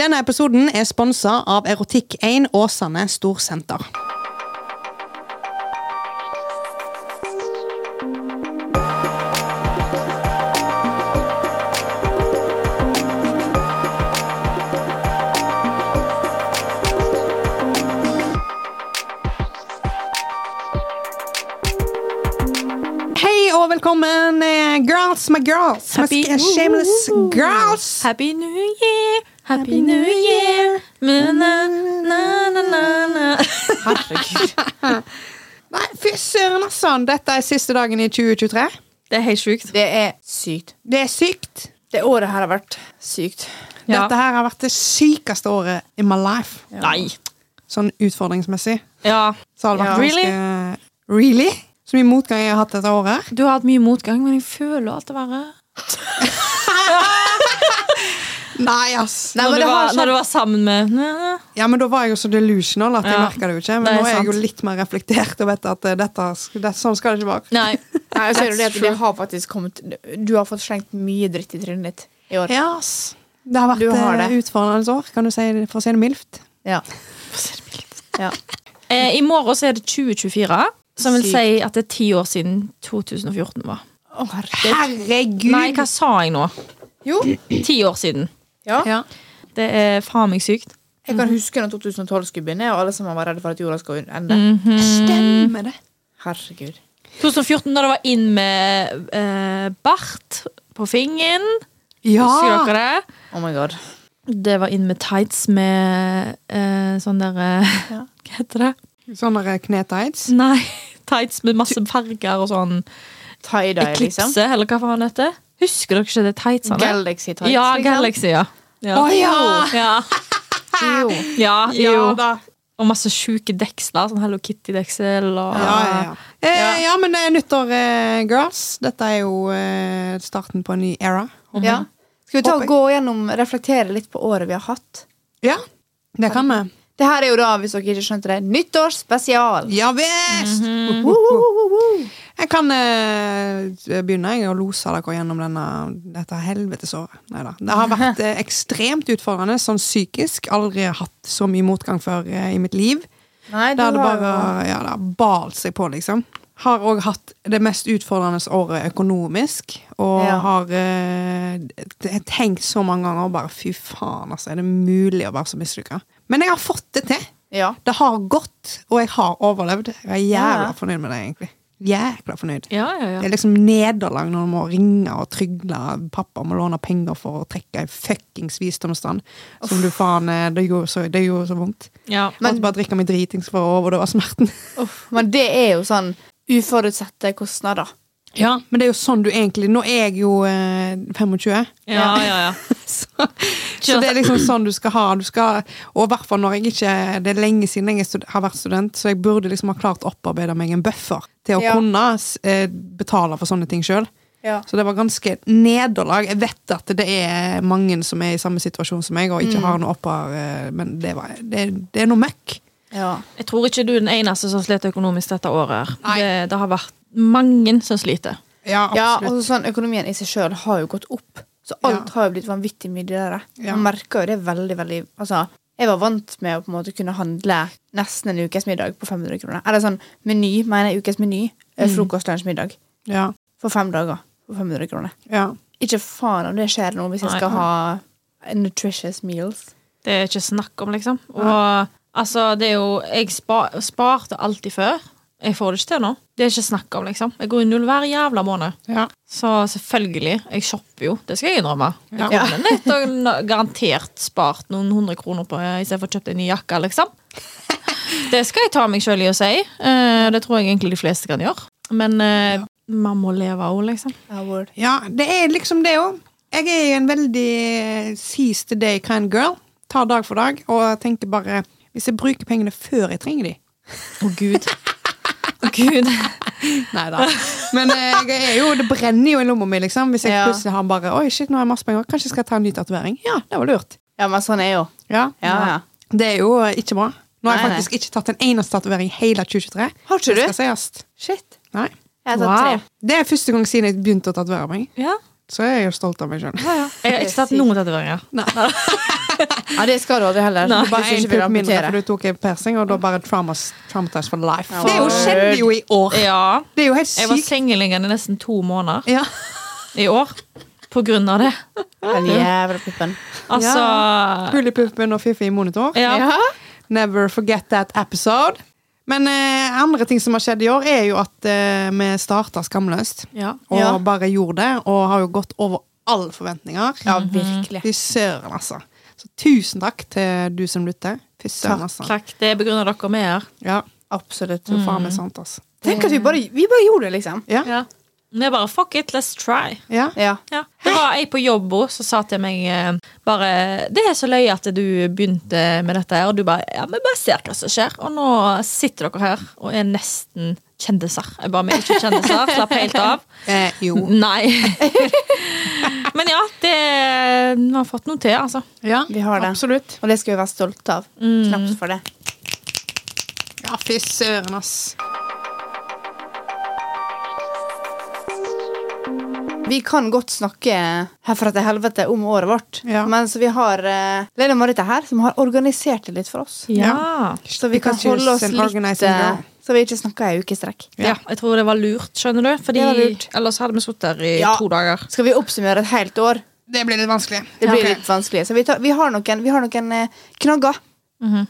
Denne episoden er sponsa av Erotikk1 Åsane Storsenter. Hei og velkommen, eh, girls my girls. my Happy- sk- shameless girls. Happy New Year, Happy New Year. Na, na, na, na, na, na. Herregud. Nei, fy søren, altså. Dette er siste dagen i 2023. Det er helt sjukt. Det er sykt. Det er sykt. Det året her har vært sykt. Ja. Dette her har vært det sykeste året in my life. Nei. Sånn utfordringsmessig. Ja. Så har det vært Ja. ganske Really? Så mye motgang jeg har hatt dette året. Du har hatt mye motgang, men jeg føler at det var Nei, ass. Når, men du det har var, skjedd- når du var sammen med na, na. Ja, men da var jeg jo så delusional at jeg Ja. merka det jo ikke. Men Nei, nå er jeg sant. jo litt mer reflektert og vet at eh, dette, sk- det, sånn skal det ikke være. Nei. Nei, og så er det det That's at det har faktisk kommet Du har fått slengt mye dritt i trynet ditt i år. Ja, ass. Det har vært Du har eh, det. utfordrende år, kan du si, det- for å si det mildt. Ja. Ja. Eh, I morgen så er det 2024, som vil Sykt. si at det er ti år siden 2014 var. Å, herregud. Herregud! Nei, hva sa jeg nå? Jo. Ti år siden. Ja. Ja. Det er faen meg sykt. Jeg kan huske når 2012 skulle begynne, og alle sammen var redde for at jorda skulle ende. Stemmer det. Herregud. 2014, da det var inn med eh, bart på fingeren. Ja! Husker Hmm. dere det? Oh my god. Det var inn med tights med eh, sånn der eh, Ja. Hva heter det? Sånne Sånn eh, knetights. Nei, tights med masse farger og sånn. Tie-dye, Eklipse, liksom. eller hva faen det heter. Husker dere ikke det tightsene? Galaxy tights. ja, liksom. Galaxy, ja. Ja. Å, ja! ja. Jo. Ja, Ja jo. da. Og masse sjuke deksler, sånn Hello Kitty-deksel og Ja, ja, ja. Ja. Eh, ja men det er nyttår, eh, girls. Dette er jo eh, starten på en ny era. Ja. Skal vi ta Håper og jeg. gå gjennom, reflektere litt på året vi har hatt? Ja, det kan vi. Det her er jo da, hvis dere ikke skjønte det, nyttårsspesial. Ja visst! Woo, woo, woo, woo. Mhm. Jeg kan eh, begynne jeg, å lose dere gjennom denne, dette helvetesåret. Neida. Det har vært eh, ekstremt utfordrende, sånn psykisk. Aldri hatt så mye motgang før eh, i mitt liv. Nei, du Der det har bare ja, det har balt seg på, liksom. Har òg hatt det mest utfordrende året økonomisk. Og Ja. har eh, t- jeg tenkt så mange ganger bare fy faen, altså. Er det mulig å være så mislykka? Men jeg har fått det til. jo Ja. Det har gått, og jeg har overlevd. Jeg er jævla Ja. fornøyd med det, egentlig. Jækla fornøyd. Ja, ja, Det ja. er liksom nederlag når du må ringe og trygle pappa må låne penger for å trekke ei fuckings visdomstann. Som du faen eh, Det gjorde så, det gjorde så vondt. ja. Men, bare drikke meg dritings for å overdøve smerten. Men det er jo sånn uforutsette kostnader. Ja, Men det er jo sånn du egentlig Nå er jeg jo eh, 25, ja, ja, ja. så, så det er liksom sånn du skal ha. Du skal, og i hvert fall når jeg ikke Det er lenge siden jeg er stud- har vært student, så jeg burde liksom ha klart å opparbeide meg en buffer til å Ja. kunne eh, betale for sånne ting sjøl. Ja. Så det var ganske nederlag. Jeg vet at det er mange som er i samme situasjon som meg, og ikke har noe opphav, eh, men det, var, det, det er noe møkk. Jeg tror ikke du er den eneste som slet økonomisk dette året. her. Nei. Det, det har vært mange som sliter. Ja, Ja, absolutt. og sånn Økonomien i seg sjøl har jo gått opp, så alt Ja. har jo blitt vanvittig mye dyrere. Ja. Man merker jo det veldig, veldig Altså, jeg var vant med å på en måte kunne handle nesten en ukes middag på 500 kroner. Eller sånn meny, mener jeg, ukes meny. eh, Frokost, lunsj, middag. ja, For fem dager. For 500 kroner. ja. Ikke faen om det skjer nå hvis jeg Nei. skal ha nutritious meals. Det er ikke snakk om, liksom. Og altså, det er jo Jeg spa, sparte alltid før. Jeg får det ikke til nå. Det er ikke snakk om, liksom. Jeg går i null hver jævla måned. ja. Så selvfølgelig. Jeg shopper jo, det skal jeg innrømme. Jeg Ja. kommer nett og n- garantert spart noen hundre kroner på eh, istedenfor å kjøpe en ny jakke, liksom. Det skal jeg ta meg sjøl i å si. Eh, Det tror jeg egentlig de fleste kan gjøre. Men eh, man må leve òg, liksom. Award. Ja, det er liksom det òg. Jeg er jo en veldig eh, seize the day kind girl. Tar dag for dag og tenker bare Hvis jeg bruker pengene før jeg trenger de Å, gud. Å, gud. Nei da. Men eh, jeg er jo, det brenner jo i lomma mi, liksom. Hvis jeg Ja. plutselig har bare Oi, shit, nå har jeg masse penger. Kanskje jeg skal ta en ny tatovering? Ja, det var lurt. Ja, men sånn er jo. Ja. Ja, ja. Det er jo eh, ikke bra. Nå har jeg Nei, nei. faktisk ikke tatt en eneste tatovering i hele 2023. Har Det ikke du? skal sies. Shit. Nei. Jeg har tatt Wow. tre. Det er første gang siden jeg begynte å tatovere meg. Ja. Så jeg er jo stolt av meg sjøl. Jeg har ikke tatt noen tatoveringer. Nei. Ja, det skal du aldri heller. Nei. Bare Du bare én ikke vil pupp mindre, amputere. for du tok en persing, og da bare traumas, traumatized for life. Ja. Det er jo, skjedde jo i år! Ja. Det er jo helt Jeg var sykt. sengeliggende i nesten to måneder Ja. i år på grunn av det. Den jævla puppen. Altså Hull i puppen og fiffi i monitor. Ja. Never forget that episode. Men eh, andre ting som har skjedd i år, er jo at eh, vi starta skamløst. ja. Og Ja. bare gjorde det, og har jo gått over alle forventninger. Ja, virkelig. Fy søren, altså. Så tusen takk til du som lytter. Fy søren, altså. Takk. Det er på grunn av dere vi er her. Ja, Absolutt. så faen meg sant, altså. Tenk at vi bare, vi bare gjorde det, liksom. Ja. Ja. Vi er bare fuck it, let's try. Ja. Ja. Ja. Det var ei på jobb også som sa til meg eh, bare Det er så løye at du begynte med dette her, og du bare Ja, vi bare ser hva som skjer. Og nå sitter dere her og er nesten kjendiser. Jeg bare, vi er ikke kjendiser. Slapp helt av. Eh, jo. Nei. Men ja, det Vi har fått noe til, altså. Ja, Vi har det. Absolutt. Og det skal vi være stolte av. Mm. Knapt for det. Ja, fy søren, ass. Vi kan godt snakke herfra til helvete om året vårt, Ja. men så vi har eh, Lene Marita her, som har organisert det litt for oss. Ja. Så vi kan Because she's holde oss an litt organizing eh, girl. Så vi ikke snakker ei uke i strekk. ja. Jeg tror det var lurt, skjønner du. Fordi Det var lurt. ellers hadde vi sittet her i Ja. to dager. Skal vi oppsummere et helt år? Det blir litt vanskelig. Det blir Ok. litt vanskelig. Så vi, tar, vi har noen, vi har noen eh, knagger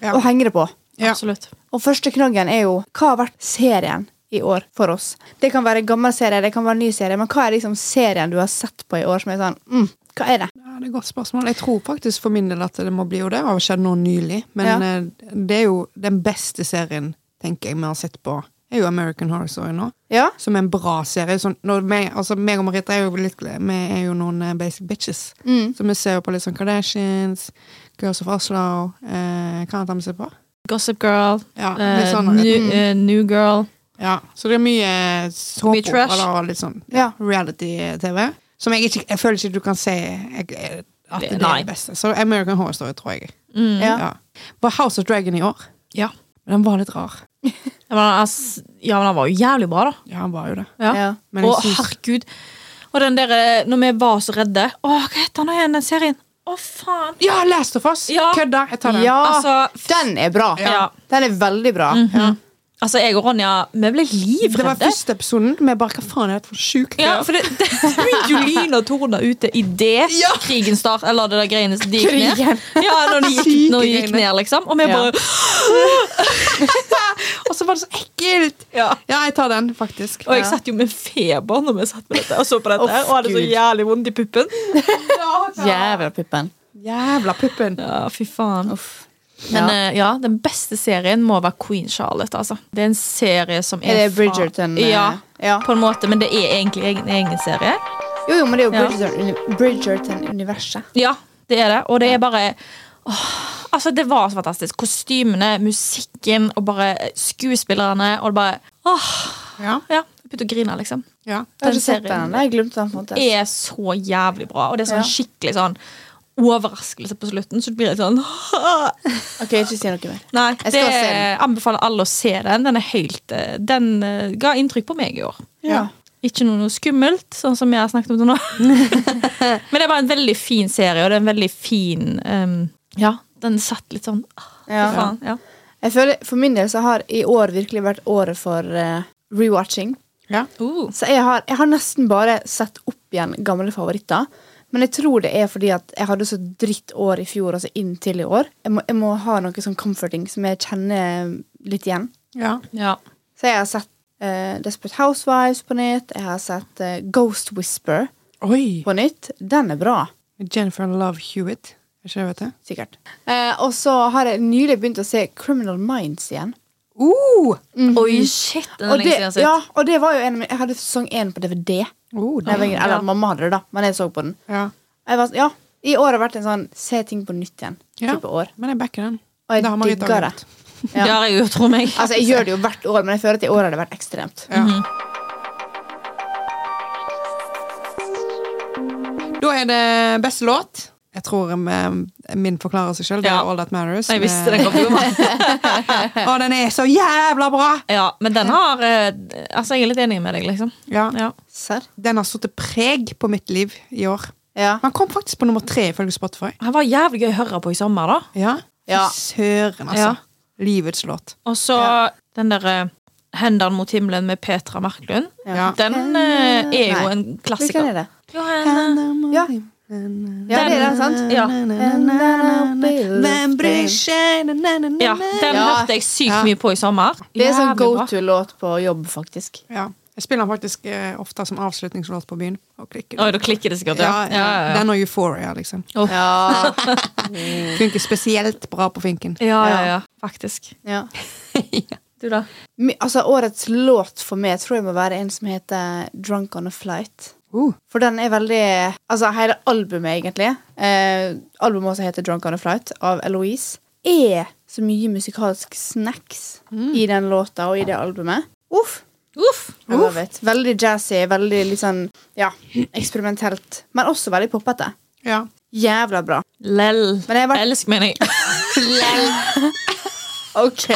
Ja. å henge det på. Ja. Absolutt. Og første knaggen er jo hva har vært serien i år for oss? Det kan være en gammel serie, det kan være en ny serie, men hva er liksom serien du har sett på i år som er sånn mm, Hva er det? Ja, det er et godt spørsmål. Jeg tror faktisk for min del at det må bli jo det. Det har skjedd noe nylig. Men Ja. eh, det er jo den beste serien, tenker jeg, vi har sett på. er jo American Horror Story nå. Ja? Som er en bra serie. Sånn, når vi, altså, meg og Marita er jo, litt, vi er jo noen eh, basic bitches. Mm, Så vi ser jo på litt sånn Kardashians, Girls of Oslo eh, Hva annet har vi sett på? Gossip Girl, Ja, eh, litt sånn, new, eh, new Girl. Ja, Så det er mye eh, Mye såpe trash. eller litt sånn Ja. reality-TV. Som jeg ikke jeg føler ikke du kan si jeg, jeg- at det, Det- er nei. det beste. Så American Horror Story, tror jeg. ja. Ja. Var House of Dragon i år. Ja. Men den var litt rar. Ja, men, ass, ja, men han var jo jævlig bra, da. Ja, han var jo det. Ja. Ja. Men jeg og synes- herregud. Og den der, eh, når vi var så redde Å, hva heter han igjen, den serien? Å, faen! Ja, Last of Us! Ja. Kødda! Jeg tar den. Ja, Mm. Altså, f- den er bra. Ja. Den er veldig bra. Altså, jeg og Ronja, vi ble Det var livredde. første episoden. Vi bare Hva faen er det for sjuke Ja, greier? for det, det begynte jo lyn og torden ute idet det krigen start, eller det der greiene som de gikk ned. Krigen. Ja, når de gikk, Syke når de gikk greiene. ned, liksom. Og vi Ja. bare Og så var det så ekkelt! ja. Ja, jeg tar den, faktisk. Og jeg satt jo med feber når vi satt med dette og så på dette, Å, her, og hadde så Gud. jævlig vondt i puppen. Jævla puppen. Jævla puppen. Ja, fy faen. Uff. Men ja. eh, ja, den beste serien må være Queen Charlotte. altså. Det er en serie som er Er det fra- Bridgerton? eh, Ja, ja. på en måte, men det er egentlig egen, egen serie. Jo, jo, men det er jo Ja. Bridgerton- Bridgerton-universet. Ja, det er det. Og det er bare åh, Altså, det var så fantastisk. Kostymene, musikken og bare skuespillerne. Og det bare åh, Ja. ja, Jeg begynte å grine, liksom. ja. Jeg har Den ikke sett den. serien ennå. Jeg glemte den. på en måte. er så jævlig bra, og det er sånn Ja. skikkelig sånn overraskelse på slutten. Så det blir litt sånn åh. Ok, ikke si noe mer. Nei, Jeg det skal se den. anbefaler alle å se den. Den er helt eh, Den eh, ga inntrykk på meg i år. Ja. Ikke noe, noe skummelt, sånn som jeg har snakket om det nå. Men det er bare en veldig fin serie, og det er en veldig fin ehm, Ja, den satt litt sånn ah, Ja. fy faen, ja. Jeg føler, For min del så har i år virkelig vært året for eh, rewatching. ja. Uh, Så jeg har, jeg har nesten bare sett opp igjen gamle favoritter. Men jeg tror det er fordi at jeg hadde så dritt år i fjor, altså inntil i år. Jeg må, jeg må ha noe sånn comforting som jeg kjenner litt igjen. ja. ja. Så jeg har sett eh, Desperate Housewives på nytt. Jeg har sett eh, Ghost Whisper Oi! på nytt. Den er bra. Jennifer Love Hewitt. Er ikke det vet du? Sikkert. Eh, og så har jeg nylig begynt å se Criminal Minds igjen. Uh! Oi, shit, den Mm-hmm. er Og det, lenge siden jeg har sett. ja, og det var jo en av mine Jeg hadde sesong én på DVD. Oh, Når jeg var den- yngre. Eller Ja. mamma hadde det, da, men jeg så på den. ja. Jeg var, sånn, ja, I år har det vært en sånn se ting på nytt igjen. Ja. Type år. Men jeg backer den. Og jeg Det har Marita digger det. gjort. ja. Det har jeg Mhm. jo, tror meg. Altså, Jeg gjør det jo hvert år, men jeg føler at i år har det vært ekstremt. Ja. Da er det beste låt. Jeg tror eh, min forklarer seg sjøl. Det Ja. er All That Matters. Jeg visste med- den kom til å komme. Å, den er så jævla bra! Ja, men den har eh, Altså, jeg er litt enig med deg, liksom. Ja. Ja. Serr? Den har satt preg på mitt liv i år. Ja. Han kom faktisk på nummer tre ifølge Spotify. Han var jævlig gøy å høre på i sommer, da. Ja. Ja. Fy Søren, altså. Ja. Livets låt. Og så den derre 'Hendene mot himmelen' med Petra Marklund. Ja. Den eh, er jo Nei. en Hvilken klassiker. er det? Jo, henne. Ja. Ja, det er den, sant? Ja. Hvem bryr seg na, na, na, na, Ja, na. den Ja. hørte jeg sykt Ja. mye på i sommer. Det er sånn Jævlig go bra. to-låt på jobb, faktisk. Ja. Jeg spiller den faktisk eh, ofte som avslutningslåt på byen. Og klikker. Oi, da klikker det sikkert, ja. Ja, Ja, ja. ja, Den og Euphoria, liksom. Ja. Funker spesielt bra på finken. ja. ja, ja, ja. Faktisk. ja. Du, da? Mi- Altså, årets låt for meg tror jeg må være en som heter Drunk on a Flight. Uh, For den er veldig Altså, hele albumet, egentlig. Eh, albumet også heter Drunk on a Flight, av Eloise. Er så mye musikalsk snacks i den låta og i det albumet. Uff! Uff! I love it. Veldig jazzy, veldig litt sånn ja, eksperimentelt. Men også veldig poppete. ja. Jævla bra. Lell. Men jeg var- Elsk, mener jeg. OK.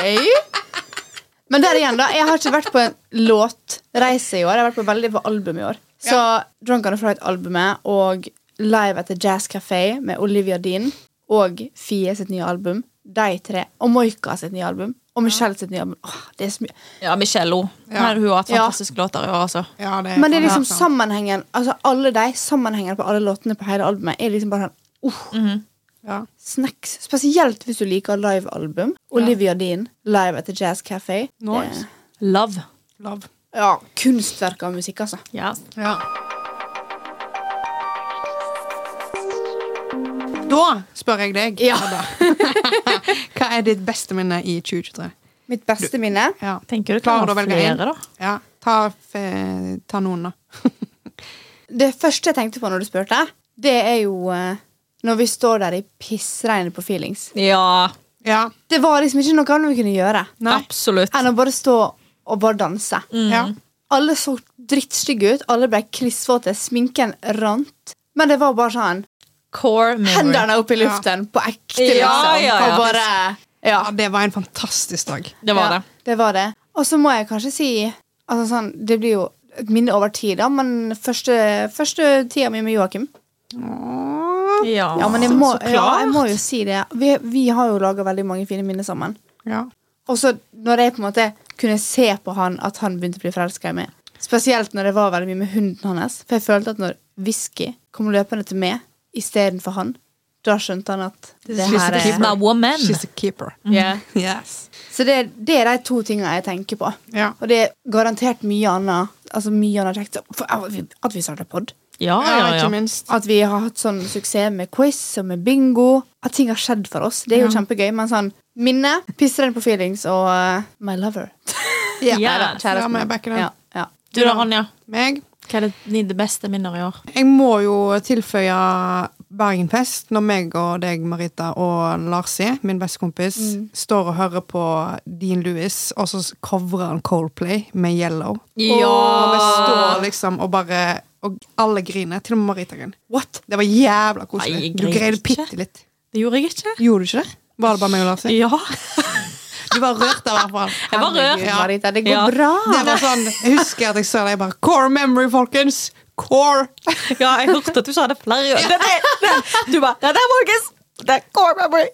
Men der igjen, da. Jeg har ikke vært på en låtreise i år. Jeg har vært på veldig på album i år. Så Drunk on a Flight-albumet og Live at the Jazz Café med Olivia Dean og Fie sitt nye album. De tre. Og Moika sitt nye album. Og Michelle sitt nye album. Åh, det er så mye. Ja, Michelle O. Ja. Hun har hatt Ja. fantastiske låter i år, altså. ja det Men det er liksom fantastisk. sammenhengen. Altså Alle de sammenhengene på alle låtene på hele albumet er liksom bare sånn uh, ja. snacks. Spesielt hvis du liker livealbum. Olivia Dean, Live at the Jazz Café. Nice. Det- Love. Love. Ja, kunstverk av musikk, altså. Ja. Ja. Da spør jeg deg, Ja. Hedda. Hva er ditt beste minne i 2023? Mitt beste minne. Ja. Tenker du Klarer klarer du å velge flere, en? da? Ja. Ta, eh, ta noen, da. Det første jeg tenkte på når du spurte, det er jo eh, når vi står der i pissregnet på feelings. Ja, Ja. Det var liksom ikke noe annet vi kunne gjøre Nei. absolutt. enn å bare stå og bare danse. Mm. Ja. Alle så drittstygge ut, alle ble klissvåte, sminken rant. Men det var bare sånn Core memory. Hendene opp i luften, på ekte, liksom. Ja, ja, ja. Og bare Ja. ja, det var en fantastisk dag. Det var ja, det. Det var det. Og så må jeg kanskje si altså sånn, Det blir jo et minne over tid, da, men første, første tida mi med Joakim Åh. Ja, Ja, men jeg må, så ja, klart. jeg må jo si det. Vi, vi har jo laga veldig mange fine minner sammen. Ja. Og så når jeg på en måte kunne se på han at han begynte å bli forelska i meg. Spesielt når det var veldig mye med hunden hans. For jeg følte at når Whisky kom løpende til meg istedenfor han, da skjønte han at det is her the She's er my woman. Mhm. She's a keeper. Yeah. Yes. Så det, det er de to tingene jeg tenker på. Ja. Og det er garantert mye annet. Altså mye annet kjekt. For At vi- at vi starta pod. Ja, ja, Ah, Ja, ja. ikke minst. At vi har hatt sånn suksess med quiz og med bingo. At ting har skjedd for oss. Det er jo kjempegøy. Men sånn minne, pisser den på feelings og eh, my lover. Ja. Ja, da, Kjæresten. Ja, men jeg backer den. Ja, ja. Du da, Ronja? Meg? Hva er det dine beste minner i år? Jeg må jo tilføye Bergenfest, når meg og deg, Marita, og Larsi, min bestekompis, Mm. står og hører på Dean Lewis, og så covrer han Coldplay med Yellow. Og vi står liksom og bare Og alle griner. Til og med Marita griner. What? Det var jævla Nei, jeg koselig. Du griner greide ikke. bitte litt. Det gjorde jeg ikke. Gjorde du ikke det? Var det bare meg og Larsi? Ja. Du var rørt av i hvert fall. Jeg var rørt. Ja. Marita, det går Ja. bra. Det var sånn, Jeg husker at jeg sa det. Jeg bare Core memory, folkens! Core! ja, jeg hørte at du sa det flere ganger. Det, det, det. Du bare Det der, folkens! Det er core memory!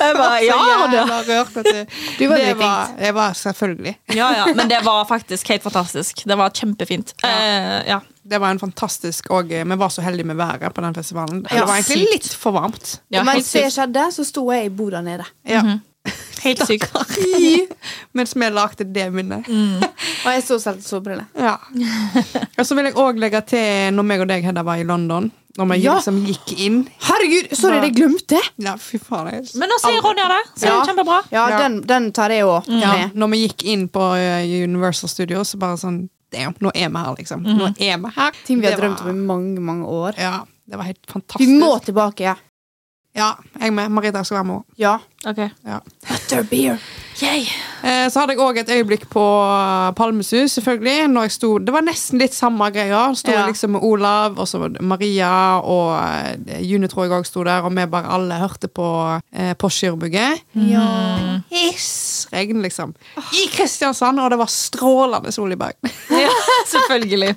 Jeg bare, ja, Så det. jævla rørt at det, Du var det dritings. var, jeg var selvfølgelig. ja, ja. Men det var faktisk helt fantastisk. Det var kjempefint. Ja. ja. Det var en fantastisk og eh, Vi var så heldige med været på den festivalen. Ja, det var egentlig sykt. litt for varmt. ja og helt mens det sykt. skjedde, så sto jeg i bordet nede. Ja. Helt sykt. Mens vi lagde det minnet. Og jeg sto og solgte solbriller. Ja. Og så vil jeg òg legge til når meg og deg, Hedda, var i London. Når vi Ja. liksom gikk inn. Herregud, sorry, det glemte jeg! Ja, fy faen. jeg- Men nå sier Ronja det. Så det er kjempebra. Ja, Ja. Den, den tar jeg òg Ja, med. når vi gikk inn på eh, Universal Studios, så bare sånn Damn, nå er vi her, liksom. Nå er vi her. Mhm. Ting vi har Det var- drømt om i mange, mange år. Ja, det var helt fantastisk. Vi må tilbake, ja. Ja, jeg med. Marita skal være med òg. Ja. Ok. Ja. Butter beer. Yay. Eh, Så hadde jeg òg et øyeblikk på Palmesus, selvfølgelig. Når jeg sto, det var nesten litt samme greia. Sto Ja. jeg liksom med Olav og så var det Maria og eh, June tror jeg òg sto der, og vi bare alle hørte på eh, Postgirobygget. Ja. Regn, liksom. I Kristiansand, og det var strålende sol i Bergen. Ja, selvfølgelig.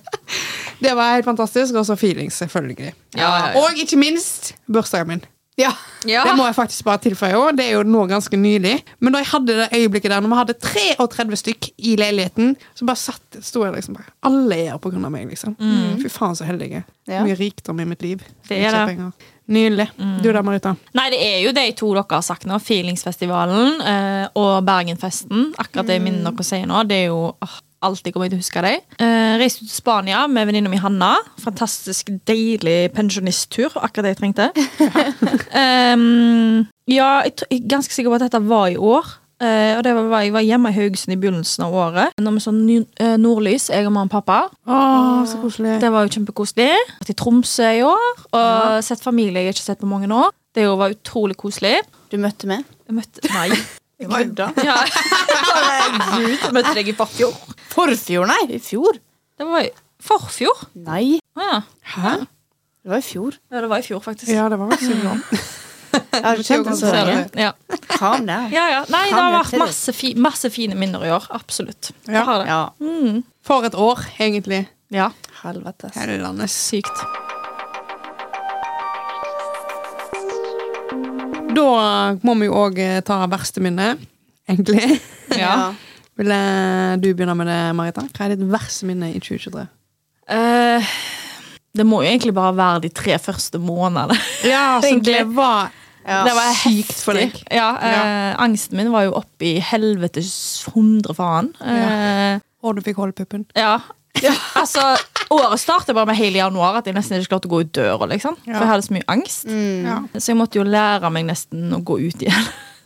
Det var helt fantastisk. Og så feelings, selvfølgelig. Ja, ja, ja. Og ikke minst bursdagen min. Ja. Ja. Det må jeg faktisk bare tilføye også. Det er jo nå ganske nylig. Men da jeg hadde det øyeblikket der, når vi hadde 33 stykk i leiligheten, så bare satt, sto jeg liksom bare Alle er her på grunn av meg, liksom. Fy faen, så heldig jeg er. Ja. Mye rikdom i mitt liv. Mm. Det Mm. er Ikke det. penger. Nydelig. Du da, Marita? Nei, det er jo de to dere har sagt nå. Feelingsfestivalen eh, og Bergenfesten. Akkurat det jeg minner dere å si nå. Det er jo åh, alltid kommer jeg til å huske dem. Eh, reiste ut til Spania med venninna mi Hanna. Fantastisk deilig pensjonisttur. Akkurat det jeg trengte. um, ja, jeg, tr- jeg er ganske sikker på at dette var i år. Eh, og det var, Jeg var hjemme i Haugesund i begynnelsen av året. Når vi så ny, eh, nordlys, jeg og mamma og pappa. Å, så koselig. Det var jo kjempekoselig. Vært i Tromsø i år og sett familie jeg ikke har sett på mange år. Det jo var utrolig koselig. Du møtte meg? Jeg møtte Nei. Kødda? Ja. Herregud, jeg møtte deg i forfjor. Forfjor, nei! I fjor? Det var i forfjor. Nei, Å Ja. Hæ? det var i fjor. ja, det var i fjor, faktisk. Ja, det var vel syv år. Jeg har ikke kjent det så Ser lenge. du? Ja. Hva om det? Ja, ja. Nei, det Kan har jo vært til. masse, fi masse fine minner i år. Absolutt. Det Ja. har det. Ja, For et år, egentlig. Ja. helvetes. Hellandes. Sykt. Da må vi jo òg ta verste minne, egentlig. Ja. Vil eh, du begynne med det, Marita? Hva er ditt verste minne i 2023? Eh, det må jo egentlig bare være de tre første månedene. Ja, så Egentlig. det var Ja. Det var sykt for deg. Ja, eh, Angsten min var jo oppe i helvetes hundre faen. Eh, Og du fikk holde puppen. ja. altså, året startet bare med hele januar at jeg nesten ikke klarte å gå ut døra. liksom. Ja. For jeg hadde så mye angst. Ja. Så jeg måtte jo lære meg nesten å gå ut igjen.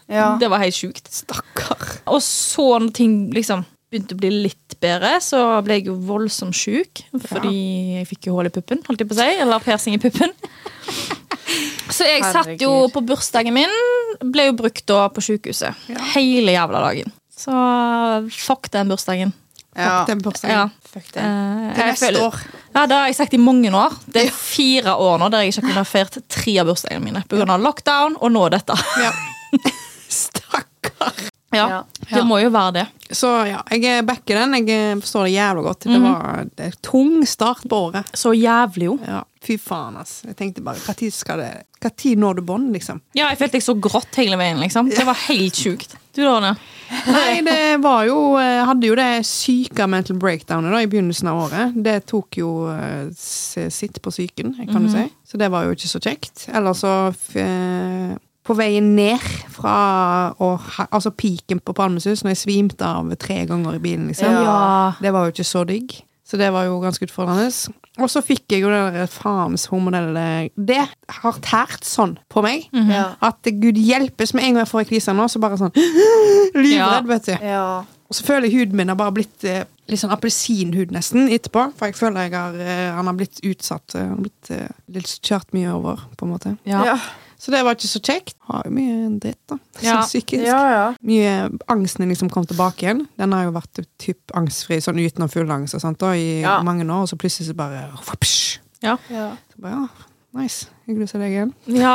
Ja. Det var helt sjukt. Stakkar. Og så når ting liksom begynte å bli litt bedre, så ble jeg jo voldsomt sjuk. Fordi jeg fikk jo hull i puppen, holdt jeg på å si. Eller persing i puppen. Så jeg satt jo Herregud. på bursdagen min, ble jo brukt da på sjukehuset. Hele jævla dagen. Så fuck den bursdagen. Ja. Den bursdagen. Ja. Fuck Eh, det. Til jeg neste føler- år. Ja, Det har jeg sagt i mange år. Det er fire år nå der jeg ikke har kunnet ha feiret tre av bursdagene mine pga. lockdown, og nå dette. Ja. Stakkar. Ja, Ja. Det må jo være det. Så ja, jeg backer den. Jeg eh, forstår det jævla godt. Det var en tung start på året. Så jævlig jo. Ja, Fy faen, ass. Jeg tenkte bare, hva tid skal det Hva tid når du bånd, liksom? Ja, jeg følte jeg så grått hele veien. liksom. Det var helt sjukt. Du da, Arne? Nei, det var jo Jeg hadde jo det syke mental breakdownet da, i begynnelsen av året. Det tok jo eh, s- sitt på psyken, kan du si. Så det var jo ikke så kjekt. Eller så f- eh, På veien ned fra å ha, Altså piken på Palmesus, når jeg svimte av tre ganger i bilen, liksom. Ja. Det var jo ikke så digg. Så det var jo ganske utfordrende. Og så fikk jeg jo det der faens hormonelle Det har tært sånn på meg. Ja. At eh, gud hjelpes med en gang jeg får ei kvise nå, så bare sånn Livredd, vet du. Ja. Og så føler jeg huden min har bare blitt eh, litt sånn appelsinhud nesten etterpå. For jeg føler jeg har, eh, han har blitt utsatt. eh, Han har blitt eh, litt kjørt mye over, på en måte. Ja. Ja. Så det var ikke så kjekt. Har jo mye dritt, da. Ja. Sånn psykisk. ja, ja. Mye angsten din liksom kom tilbake igjen. Den har jo vært typ angstfri, sånn uten og full angst og sånt, da, i Ja. mange år, og så plutselig så bare whoopsh. Ja. ja. Så bare, ja, Nice. Hyggelig å se deg igjen. Ja.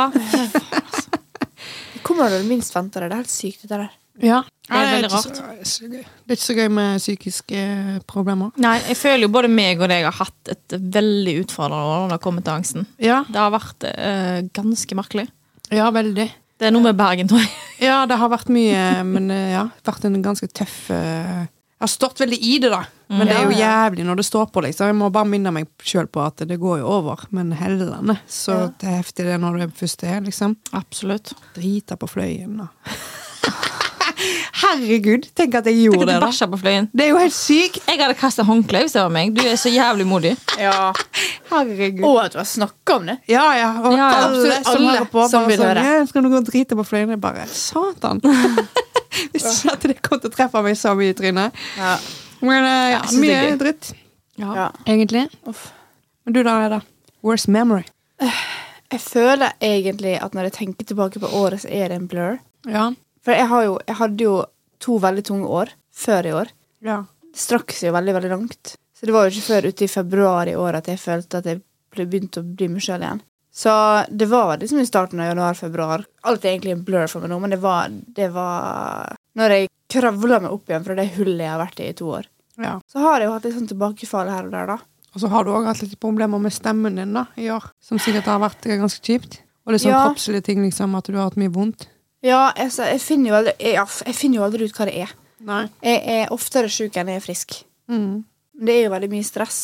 Det kommer når du minst venter det. Det er helt sykt, det der. Ja. er Nei, veldig ikke Så, det er ikke så gøy med psykiske eh, problemer. Nei, jeg føler jo både meg og deg har hatt et veldig utfordrende år når det har kommet til angsten. Ja, Det har vært eh, ganske merkelig. ja veldig. Det er noe med Bergen, tror jeg. Ja, det har vært mye, men eh, ja, vært en ganske tøff eh, Jeg har stått veldig i det, da. Men det er jo jævlig når det står på, liksom. Jeg må bare minne meg sjøl på at det går jo over. Men hellene, så Ja. det er heftig det når det først er, liksom. Absolutt. Drita på fløyen, da. Herregud, tenk at jeg Tenk gjorde at det, du da. bæsja på fløyen. Det er jo helt sykt. Jeg hadde kastet håndkle hvis det var meg. Du er så jævlig modig. Ja. Herregud. Og at du har snakka om det. Ja, ja. Og Ja, ja. alle Absolutt som alle hører på, som bare vil sånn høre. ja, Skal du gå og drite på fløyen? Jeg bare Satan. Visste ikke at det kom til å treffe meg så mye i trynet. Ja. Men eh, ja, Jeg synes det mye er gøy. dritt. ja. Egentlig. Uff. Men du da, Eda? Worst memory. Jeg føler egentlig at når jeg tenker tilbake på året, så er det en blur. Ja. For jeg, har jo, jeg hadde jo to veldig tunge år før i år. Ja. Det strakk seg jo veldig, veldig langt. Så det var jo ikke før ute i februar i år at jeg følte at jeg ble- begynte å bli meg sjøl igjen. Så det var liksom i starten av januar-februar. Alt er egentlig en blur for meg nå, men det var, det var Når jeg kravla meg opp igjen fra det hullet jeg har vært i i to år. ja. Så har jeg jo hatt litt sånn tilbakefall her og der, da. Og så har du òg hatt litt problemer med stemmen din da, i år, som sikkert har vært eh, ganske kjipt. Og det er sånn Ja. kroppslige ting, liksom, at du har hatt mye vondt. Ja, jeg, sa- jeg, finner jo aldri, jeg, ja, jeg finner jo aldri ut hva det er. Nei. Jeg er oftere syk enn jeg er frisk. Mm. Men Det er jo veldig mye stress.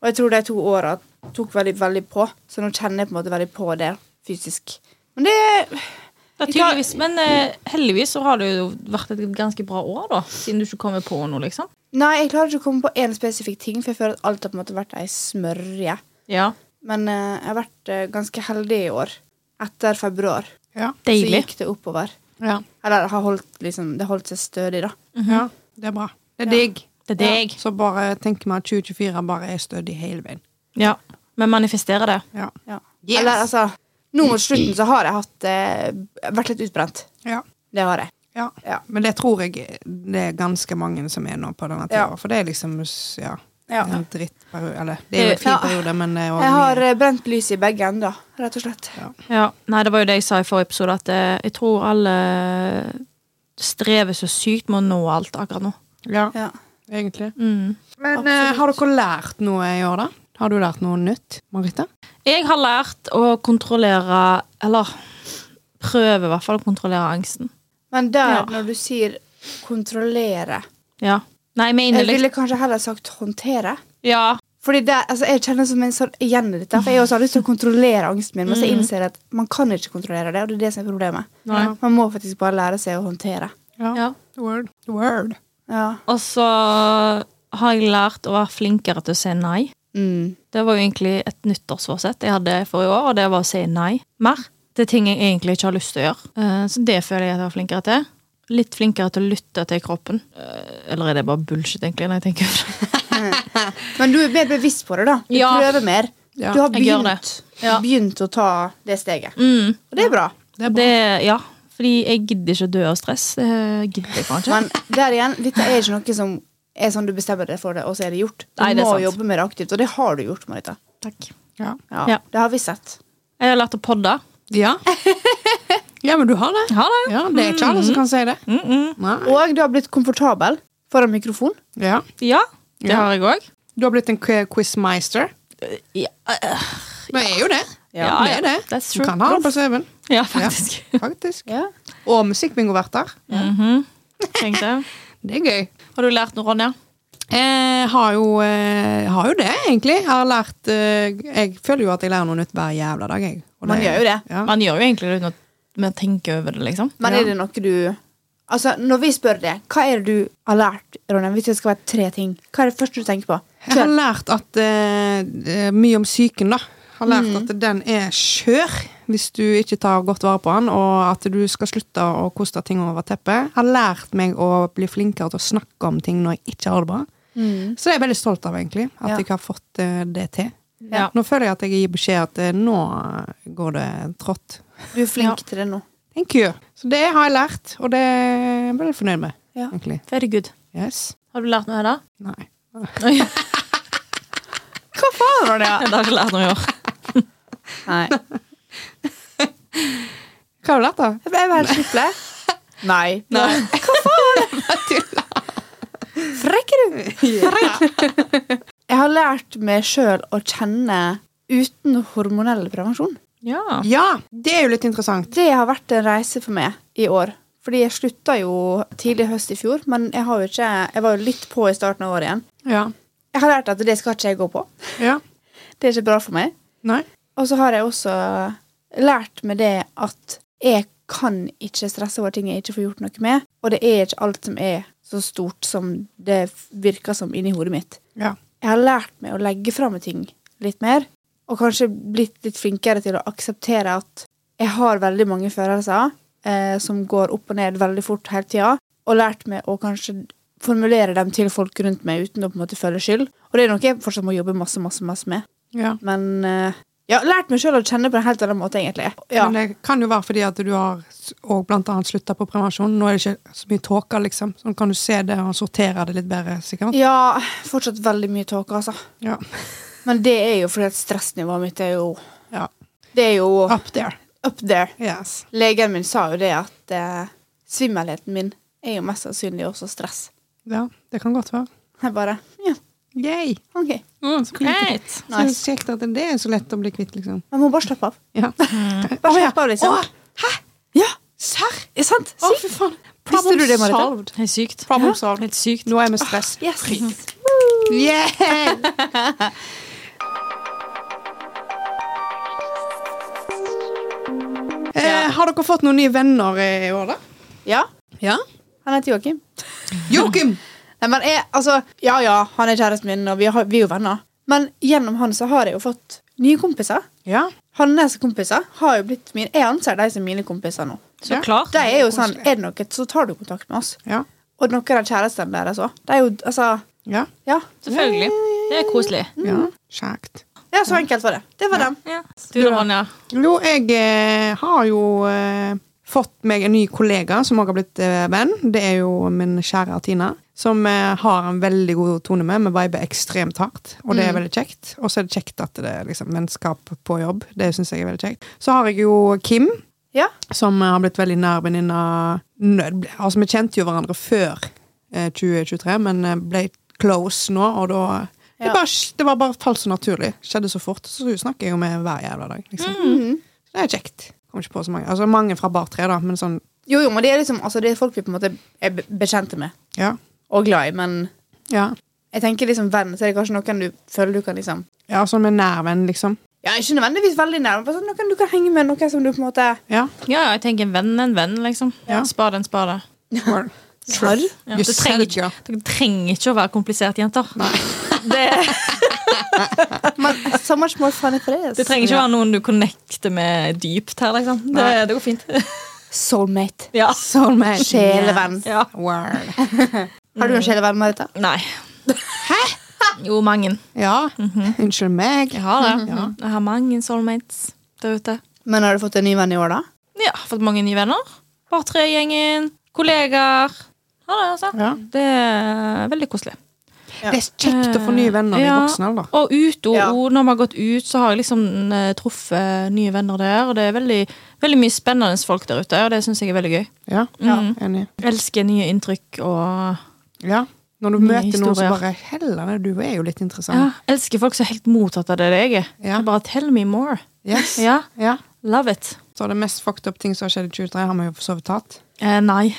Og jeg tror de to åra tok veldig, veldig på, så nå kjenner jeg på en måte veldig på det fysisk. Men det Det er tydeligvis, men eh, heldigvis så har det jo vært et ganske bra år, da. Siden du ikke kommer på noe, liksom. Nei, jeg klarer ikke å komme på én spesifikk ting, for jeg føler at alt har på en måte vært ei smørje. Ja, Men eh, jeg har vært eh, ganske heldig i år. Etter februar Ja. så Deilig. gikk det oppover. Ja. Eller har holdt, liksom, det holdt seg stødig, da. ja. Det er bra. Mhm. Det er digg. Det er deg. Så bare tenk meg at 2024 bare er stødig hele veien. Ja. Vi manifesterer det. Ja. Ja. Yes. Eller altså Nå mot slutten så har jeg hatt, eh, vært litt utbrent. Ja. Det har jeg. ja. Ja. Men det tror jeg det er ganske mange som er nå på denne tida. Ja. For det er liksom s- ja, Ja. en drittperiode. Eller det er jo en fin Ja. periode, men det er også Jeg har mye. eh, brent lyset i begge ender, rett og slett. Ja. Ja. Nei, det var jo det jeg sa i forrige episode, at eh, jeg tror alle strever så sykt med å nå alt akkurat nå. Ja, Ja. egentlig. Mm. Men eh, har dere lært noe i år, da? Har du lært noe nytt, Marita? Jeg har lært å kontrollere Eller prøve i hvert fall å kontrollere angsten. Men der, Ja. når du sier kontrollere Ja. Nei, jeg mener Jeg liksom ville kanskje heller sagt håndtere. Ja. Fordi det, altså, Jeg kjenner som en sånn igjen i dette. For jeg også har lyst til å kontrollere angsten min, men så innser jeg at man kan ikke kontrollere det. og det er det som er problemet. Mm. Nei. Man må faktisk bare lære seg å håndtere. ja. Word. Word. Ja. Og så har jeg lært å være flinkere til å si nei. Mm. Det var jo egentlig et nyttårsforsett jeg hadde for i år, og det var å si nei mer til ting jeg egentlig ikke har lyst til å gjøre. Eh, Så det føler jeg at jeg var flinkere til. Litt flinkere til å lytte til kroppen. Eh, Eller er det bare bullshit, egentlig? når jeg tenker over det? Men du er mer bevisst på det, da. Du Ja. prøver mer. Ja, Du har jeg gjør begynt, det. Ja. begynt å ta det steget. Mm. Og det er bra. Det er bra. Det, ja, fordi jeg gidder ikke å dø av stress. Det gidder jeg kanskje. Men der igjen, dette er ikke noe som er sånn du bestemmer deg for det, og så er det gjort. Du Nei, det er må sant. jobbe med det aktivt, og det har du gjort, Marita. Takk. Ja. Ja, Ja. Det har vi sett. Jeg har lært å podde. Ja. ja, men du har det. Ha det. Ja, det er ikke alle som kan si det. Mm -mm. Nei. Og du har blitt komfortabel foran mikrofon. Ja. Ja, det Ja. har jeg òg. Du har blitt en k- quizmeister. Ja, eh, Du er jo det. Ja, du er det. that's Du true. kan ha det på CV-en, ja faktisk. faktisk. Ja. Og musikkbingoverter. Mhm. Tenkte jeg. Det er gøy. Har du lært noe, Ronja? Jeg har jo, eh, har jo det, egentlig. Jeg har lært eh, Jeg føler jo at jeg lærer noe nytt hver jævla dag, jeg. Og Man gjør jo det. Ja. Man gjør jo egentlig det uten at man tenker over det, liksom. Men Ja. er det noe du Altså, Når vi spør det, hva er det du har lært, Ronja? Hvis det skal være tre ting, hva er det første du tenker på? Jeg har lært at eh, eh, mye om psyken, da. Har lært Mm. at den er skjør hvis du ikke tar godt vare på den, og at du skal slutte å koste ting over teppet. Har lært meg å bli flinkere til å snakke om ting når jeg ikke har det bra. Så Mm. det er jeg veldig stolt av, egentlig. At Ja. jeg har fått eh, det til. Ja. Nå føler jeg at jeg gir beskjed at eh, nå går det trått. Du er flink til det nå. Thank you. Så det har jeg lært, og det er jeg veldig fornøyd med, Ja. egentlig. Very good. Yes. Har du lært noe, Hedda? Nei. Oi, jeg Hva faen, Ronja? har ikke lært noe i år. Nei. Hva har du lært, da? Jeg ble helt sliple. Nei. Frekk er du! Jeg har lært meg sjøl å kjenne uten hormonell prevensjon. Ja. Ja, det er jo litt interessant. Det har vært en reise for meg i år. Fordi jeg slutta jo tidlig i høst i fjor, men jeg, har jo ikke, jeg var jo litt på i starten av året igjen. Ja. Jeg har lært at det skal ikke jeg gå på. ja. Det er ikke bra for meg. Nei. Og så har jeg også lært med det at jeg kan ikke stresse over ting jeg ikke får gjort noe med, og det er ikke alt som er så stort som det virker som inni hodet mitt. Ja. Jeg har lært meg å legge fram ting litt mer, og kanskje blitt litt flinkere til å akseptere at jeg har veldig mange følelser eh, som går opp og ned veldig fort hele tida, og lært meg å kanskje formulere dem til folk rundt meg uten å på en måte føle skyld. Og det er noe jeg fortsatt må jobbe masse, masse, masse med. ja. Men eh, ja, lært meg sjøl å kjenne på en helt annen måte, egentlig. Ja. Men det kan jo være fordi at du har s- og blant annet slutta på prevensjon. Nå er det ikke så mye tåke, liksom. Så nå kan du se det og sortere det litt bedre, sikkert. ja, fortsatt veldig mye tåke, altså. Ja. Men det er jo fordi at stressnivået mitt er jo ja. Det er jo Up there. up there. Yes. Legen min sa jo det at eh, svimmelheten min er jo mest sannsynlig også stress. Ja, det kan godt være. Jeg bare ja, Yay! Ok. Mm, så kult. Greit. Så Nice. kjekt at det er så lett å bli kvitt, liksom. Man må bare slappe av. Ja. Bare slappe av, liksom. Mm. Å, hæ? Ja, Serr? er sant? Å, Sykt. fy faen. Visste du det, Marita? solved. Helt sykt. Problem solved. Helt sykt. Nå er vi stress. Yes. Yeah! Eh, har dere fått noen nye venner i år, da? Ja, Ja. han heter Joakim. Joakim! Nei, men jeg, altså, ja, ja, han er kjæresten min, og vi, har, vi er jo venner. Men gjennom han så har jeg jo fått nye kompiser. Ja. Hans kompiser har jo blitt mine. Jeg anser de som mine kompiser nå. Så Ja. klart. De er jo sånn, er det noe, så tar du kontakt med oss. Ja. Og noen av kjærestene deres òg. De er jo, altså, Ja. ja. Selvfølgelig. Det er koselig. ja. Kjekt. Ja, så enkelt var det. Det var dem. Ja. Du da, Ronja? Jo, jeg eh, har jo eh, fått meg en ny kollega som også har blitt eh, venn. Det er jo min kjære Tina, som eh, har en veldig god tone med. Vi viber ekstremt hardt, og det er veldig kjekt. Og så er det kjekt at det er liksom, vennskap på jobb. Det syns jeg er veldig kjekt. Så har jeg jo Kim, Ja. som eh, har blitt veldig nær venninna Nø- ble- Altså, vi kjente jo hverandre før eh, 2023, men eh, ble close nå, og da det, Ja. bare, det var bare falt så naturlig. Skjedde så fort. Så hun snakker jeg jo med hver jævla dag. Liksom. Mm. Så det er kjekt. Kommer ikke på så mange. Altså mange fra bar tre, da, men sånn Jo, jo, men det er liksom, altså, det er folk vi på en måte er be- bekjente med Ja. og glad i, men Ja, jeg tenker liksom venn, så er det kanskje noen du føler du kan liksom ja sånn med nærvenn, liksom. Ja, ikke nødvendigvis veldig nær, men bare sånn, noen du kan henge med, noen som du på en måte Ja. Ja, jeg tenker en venn er en venn, liksom. Ja. Spar den, spar det. Word. Sarr? Ja, You det said trenger, it, ikke, ja. det trenger ikke å være komplisert, jenter. Det, Men so much more fun if it is. det trenger ikke å være noen du connecter med dypt her, liksom. Det, Nei. det går fint. Soulmate. Ja. Soulmate. Sjelevenn. Yes. ja. Word. Har du en sjelevenn, Marita? Nei. Hæ? Jo, mange. Ja. Mhm. Unnskyld meg. Jeg har det. Ja. Jeg har mange soulmates der ute. Men har du fått en ny venn i år, da? Ja, fått mange nye venner. Bare tre gjengen, kollegaer. Ha det, altså. Ja. Det er veldig koselig. Ja. Det er kjekt å få nye venner i Ja. voksen alder. Og ute og Ja. og når vi har gått ut, så har jeg liksom eh, truffet nye venner der. Og det er veldig, veldig mye spennende folk der ute, og det syns jeg er veldig gøy. Ja. Ja. Mm. Enig. Elsker nye inntrykk og Ja. Når du Nye møter noen som historier. bare Heller, du er jo litt interessant. ja, Elsker folk som er helt mottatt av det jeg er. Ja. Bare tell me more. Yes. Ja, Ja. Love it. Så det mest fucked up ting som har skjedd i 2023, har vi jo for så vidt tatt. Eh, nei,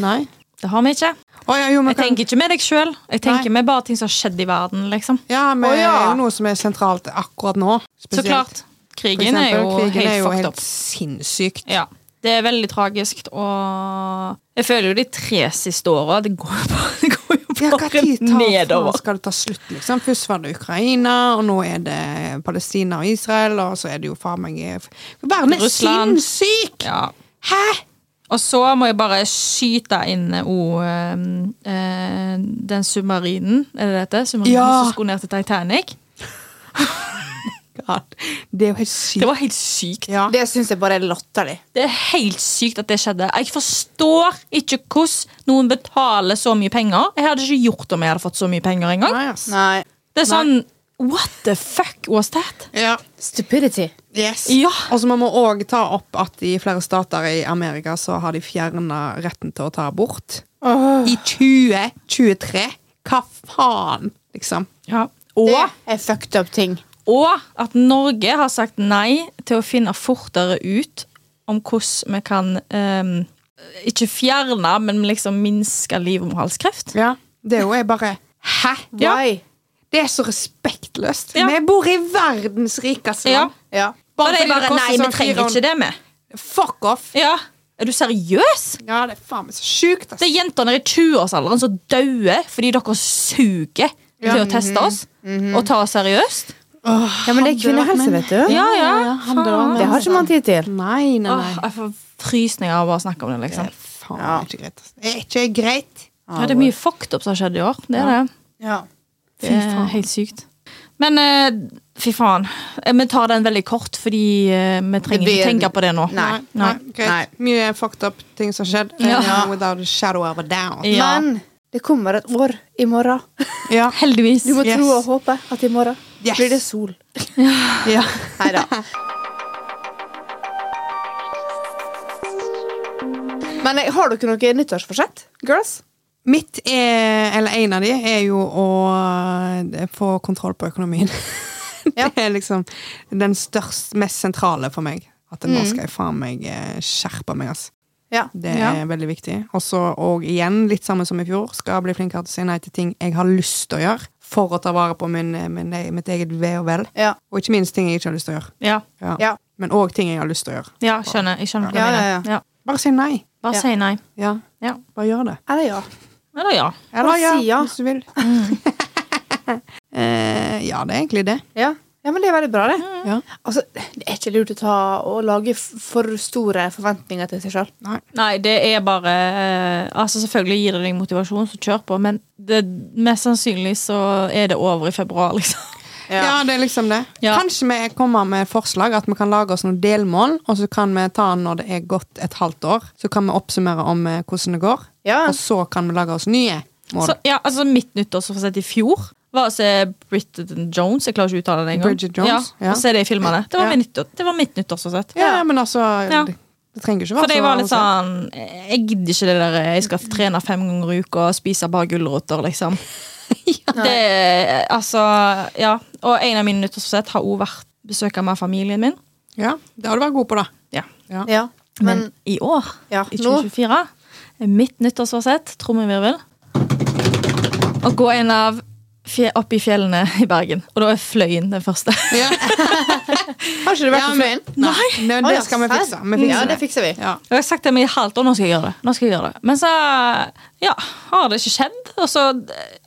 Nei. det har vi ikke. Å ja, jo, vi Jeg kan, tenker ikke med deg sjøl. Jeg tenker med bare ting som har skjedd i verden. liksom. ja, men Å, det er ja. jo noe som er sentralt akkurat nå. Så spesielt. klart. For Krigen er eksempel, jo krigen er helt jo fucked helt up. sinnssykt. Ja. Det er veldig tragisk, og jeg føler jo de tre siste åra Det går jo bare, det går jo Ja, hva bare tid tar faen nedover. skal det ta slutt, liksom? Først var det Ukraina, og nå er det Palestina og Israel, og så er det jo faen meg eh, Verden er Russland. sinnssyk! Ja. Hæ?! Og så må jeg bare skyte inn eh, o, eh, eh, den submarinen, er det dette? Submarinen Ja. som skulle ned til Titanic. Det er jo helt sykt. Det var helt sykt. ja. Det syns jeg bare er latterlig. Det er helt sykt at det skjedde. Jeg forstår ikke hvordan noen betaler så mye penger. Jeg hadde ikke gjort det om jeg hadde fått så mye penger engang. Nei, ass. Nei. Det er sånn What the fuck was that? Ja. Stupidity. Yes. Ja. Og så må vi òg ta opp at i flere stater i Amerika så har de fjerna retten til å ta abort. I 2023! Hva faen, liksom? Ja. Det Og er fucked up ting. Og at Norge har sagt nei til å finne fortere ut om hvordan vi kan ehm, Ikke fjerne, men liksom minske livmorhalskreft. Ja. Det er jo jeg bare Hæ?! Ja. Why? Det er så respektløst. Ja. Vi bor i verdens rikeste Ja. land. Ja. Og det er fordi bare koster Nei, vi sånn trenger 400 ikke det med. Fuck off! Ja. Er du seriøs? Ja, det er faen meg så sjukt, ass. Det er jenter nede i 20-årsalderen som dauer fordi dere suger Ja. til å teste oss og ta oss seriøst. ja, men det er kvinnehelse, vet du. Ja, ja. han drar Faen. ned. Det har ikke man tid til. Nei, nei, Åh, nei. jeg får frysninger av å bare snakke om det. liksom. Det er faen Ja. ikke greit. ass. Det er ikke greit. Ja, det er mye fucked up som har skjedd i år. Det er det. Ja. Det er Eh, helt sykt. Men eh, fy faen. Eh, Vi tar den veldig kort, fordi eh, vi trenger blir- ikke tenke på det nå. Nei. nei, Nei. greit. Nei. Mye fucked up ting som har skjedd. Ja. eh, Without a shadow of a doubt. Ja. Men det kommer et år i morgen. Ja. Heldigvis. Du må Yes. tro og håpe at i morgen Yes. blir det sol. ja. Nei da. Men eh, har dere noe nyttårsforsett, girls? Mitt er, eller en av de, er jo å eh, få kontroll på økonomien. Ja. Det er liksom den størst, mest sentrale for meg. At nå skal jeg faen meg eh, skjerpe meg, ass. Ja. Det Ja. er veldig viktig. Og så, og igjen, litt samme som i fjor, skal bli flinkere til å si nei til ting jeg har lyst til å gjøre. For å ta vare på min, eh, min, mitt eget ve og vel. Ja. Og ikke minst ting jeg ikke har lyst til å gjøre. Ja, Ja. Ja. Men òg ting jeg har lyst til å gjøre. ja skjønner. Jeg skjønner hva du Ja, ja, mener. ja. Ja. Bare si nei. Bare Ja. si nei. Ja, Ja. bare gjør det. Eller ja. Eller ja. Eller Bare ja, si ja. hvis du vil. eh, ja, det er egentlig det. ja. Ja, men det er veldig bra, det. Ja. Altså, det er ikke lurt å ta og lage f- for store forventninger til seg sjøl. Nei, det er bare eh, Altså Selvfølgelig gir det deg motivasjon, så kjør på, men det, mest sannsynlig så er det over i februar, liksom. Ja. det er liksom det. Ja. Kanskje vi kommer med forslag at vi kan lage oss noen delmål, og så kan vi ta den når det er gått et halvt år. Så kan vi oppsummere om eh, hvordan det går, Ja. og så kan vi lage oss nye mål. Så, ja, altså Mitt nyttårsforsett i fjor var å se Britton Jones. Jeg klarer ikke å uttale det engang. Bridget Jones, ja, ja. Og se det i filmene. Det var, Ja. min nyttår, det var mitt nyttårsforsett. ja, men altså Ja. Det, det trenger ikke være Fordi jeg var litt avansert. sånn Jeg gidder ikke det der Jeg skal trene fem ganger i uka og spise bare gulrøtter, liksom. Det, altså, ja. Og en av mine nyttårsforsett har òg vært besøk av meg og familien min. Ja, det har du vært god på, da. Ja. Ja. Ja. Men, Men i år, Ja, i nå. 2024, er mitt nyttårsforsett, trommevirvel, å gå en av fje, opp i fjellene i Bergen. Og da er Fløyen den første. Ja. har ikke du vært Ja, på men- Fløyen? Nei, Nei, Å, det ja, skal vi serr. fikse. Vi fikser ja, det det. fikser vi. Ja. Og jeg har sagt til meg i et halvt år nå skal jeg gjøre det. Nå skal jeg gjøre det. Men så ja, har det ikke skjedd. Og så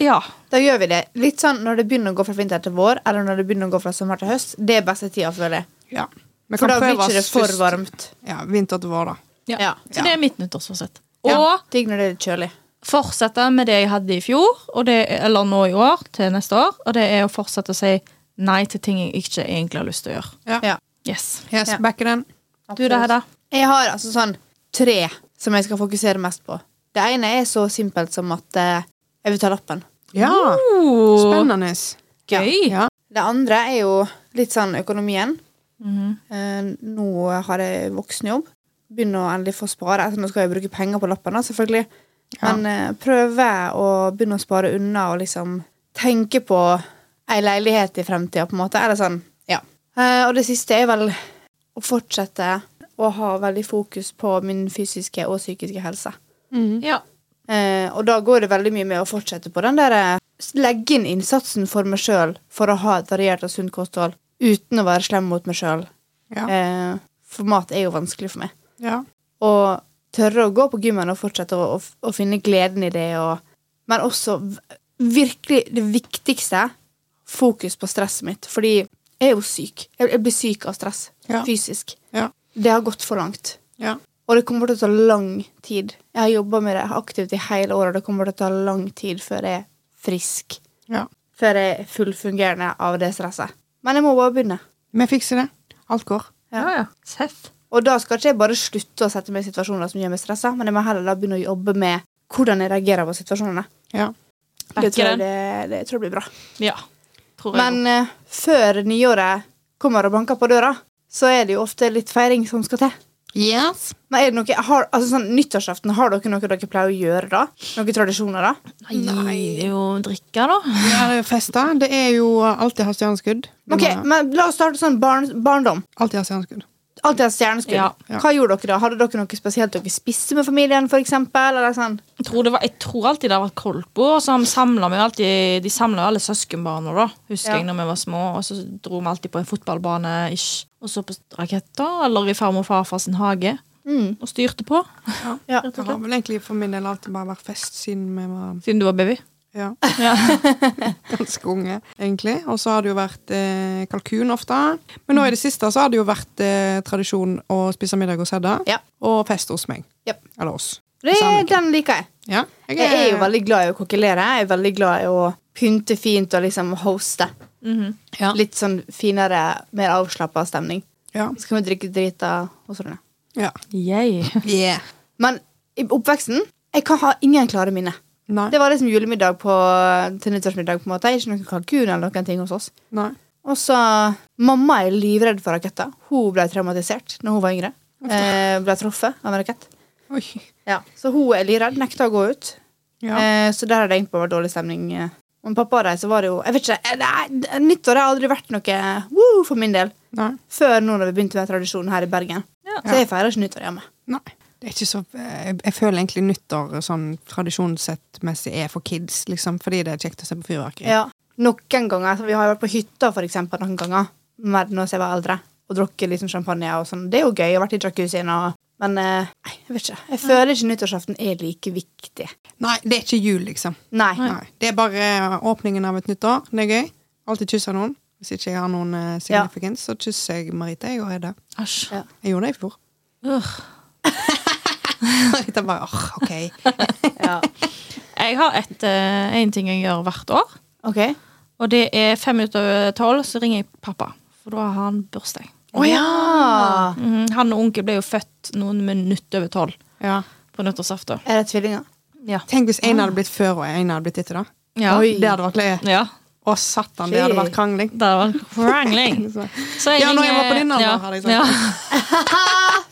ja. Da gjør vi det. Litt sånn når det begynner å gå fra vinter til vår, eller når det begynner å gå fra sommer til høst. Det er beste tida, føler jeg. ja. Vi For kan da blir prøve ikke det oss for først. varmt. Ja, vinter til vår, da. Ja. Ja. Så det er mitt nyttårsforsett. Og Ja. Digg når det er litt kjølig. fortsette med det jeg hadde i fjor, og det, eller nå i år, til neste år. Og det er å fortsette å si nei til ting jeg ikke egentlig har lyst til å gjøre. Ja. Ja. Yes. Yes, Ja. back in. Du da, Hedda? Jeg har altså sånn tre som jeg skal fokusere mest på. Det ene er så simpelt som at eh, jeg vil ta lappen. Ja, spennende. Spennende. Oh, Gøy. Ja. Det andre er jo litt sånn økonomien. Mhm. Eh, nå har jeg voksenjobb. Begynner å endelig få spare. Altså, nå skal jeg bruke penger på lappene, selvfølgelig. Ja. Men eh, prøve å begynne å spare unna og liksom tenke på ei leilighet i fremtida, på en måte. Eller sånn, ja. Eh, og det siste er vel å fortsette å ha veldig fokus på min fysiske og psykiske helse. Ja. Eh, og da går det veldig mye med å fortsette på den der eh, legge inn innsatsen for meg sjøl for å ha et variert og sunt kosthold uten å være slem mot meg sjøl. Ja. Eh, for mat er jo vanskelig for meg. Ja. Og tørre å gå på gymmen og fortsette å, å, å finne gleden i det, og, men også v- virkelig det viktigste fokus på stresset mitt. Fordi jeg er jo syk. Jeg, jeg blir syk av stress Ja. fysisk. Ja. Det har gått for langt. Ja. Og det kommer til å ta lang tid. Jeg har jobba med det aktivt i hele året, og det kommer til å ta lang tid før jeg er frisk. ja. Før jeg er fullfungerende av det stresset. Men jeg må bare begynne. Vi fikser det. Alt går. Ja, ja. Seff. Og da skal ikke jeg bare slutte å sette meg i situasjoner som gjør meg stressa, men jeg må heller da begynne å jobbe med hvordan jeg reagerer på situasjonene. Ja. Det tror jeg, Backer den. det, det tror jeg blir bra. Ja. Tror jeg Men eh, før nyåret kommer og banker på døra, så er det jo ofte litt feiring som skal til. Yes. Men er det noe, har, altså sånn, Nyttårsaften, har dere noe dere pleier å gjøre da? Noen tradisjoner da? Nei, det er jo drikke, da. Ja, det er festa. Det er jo alltid hastehjerneskudd. Du Ok, må- men eh, La oss starte sånn barn, barndom. Alltid hastehjerneskudd. Alltid hatt stjerneskudd. Ja. Ja. Hva gjorde dere da? Hadde dere noe spesielt dere spiste med familien? For eksempel, eller sånn? Jeg tror, det var, jeg tror alltid det har vært koldtbord. og Så har vi samlet meg alltid, de samla alle søskenbarna, da, husker Ja. jeg, når vi var små. Og så dro vi alltid på en fotballbane ish, og så på raketter, eller i farmor og farfar sin hage. Og styrte på. Ja. Det har vel egentlig for min del alltid bare vært fest siden vi var Siden du var baby. ja, Ja. ganske unge, egentlig. Og så har det jo vært eh, kalkun ofte. Men nå i det siste så har det jo vært eh, tradisjon å spise middag hos Hedda, Ja. og fest hos meg. Japp. Eller oss. Det, Sannelig. den liker jeg. Ja. Jeg er jo veldig glad i å kokkelere. Jeg er veldig glad i å pynte fint og liksom hoste. Ja. Litt sånn finere, mer avslappa stemning. Ja. Så kan vi drikke drita hos hverandre. ja. Yay. Yeah. Men i oppveksten jeg kan ha ingen klare minner. Nei. Det var liksom julemiddag på, til nyttårsmiddag. på en måte. Ikke noen kalkun eller noen ting hos oss. Nei. Og så Mamma er livredd for raketter. Hun ble traumatisert når hun var yngre. Eh, ble truffet av en rakett. Oi. Ja. Så hun er livredd. Nekta å gå ut. Ja. Eh, så der har det egentlig bare vært dårlig stemning. eh. Og med pappa og de, så var det jo Jeg vet ikke, eh, det er- Nyttår har aldri vært noe woo for min del. Nei. Før nå når vi begynte med tradisjonen her i Bergen. Ja. Så jeg feirer ikke nyttår hjemme. Nei. Det er ikke så, jeg, jeg føler egentlig nyttår sånn tradisjonssettmessig er for kids, liksom, fordi det er kjekt å se på fyrverkeri. Ja. Noen ganger, altså, Vi har jo vært på hytta for eksempel, noen ganger, mer enn når jeg var eldre, og drukket liksom champagne. og sånn. Det er jo gøy. Jeg har vært i jacuzzien og Men eh, nei, jeg vet ikke. Jeg føler ikke nyttårsaften er like viktig. Nei, det er ikke jul, liksom. Nei. Nei. Det er bare eh, åpningen av et nytt år. Det er gøy. Alltid kysse noen. Hvis ikke jeg har noen eh, significance, så kysser jeg Marita jeg og Hedda. Æsj. Ja. Jeg gjorde det i fjor. Ugh. Marita bare åh, OK. Ja. Jeg har et, eh, en ting jeg gjør hvert år. OK. Og det er fem minutter over tolv, så ringer jeg pappa. For da har han bursdag. Å ja! Mhm, Han og onkel ble jo født noen minutter over tolv Ja. på nyttårsaften. Er det tvillinger? Ja. Tenk hvis en hadde blitt før og en hadde blitt etter, da. Ja. Ah. Oi. Det hadde vært løye. ja. Å, satan, det hadde vært krangling. Det var krangling. Så Ja, når jeg ringer- var på din alder, ja, hadde jeg sagt. Ja.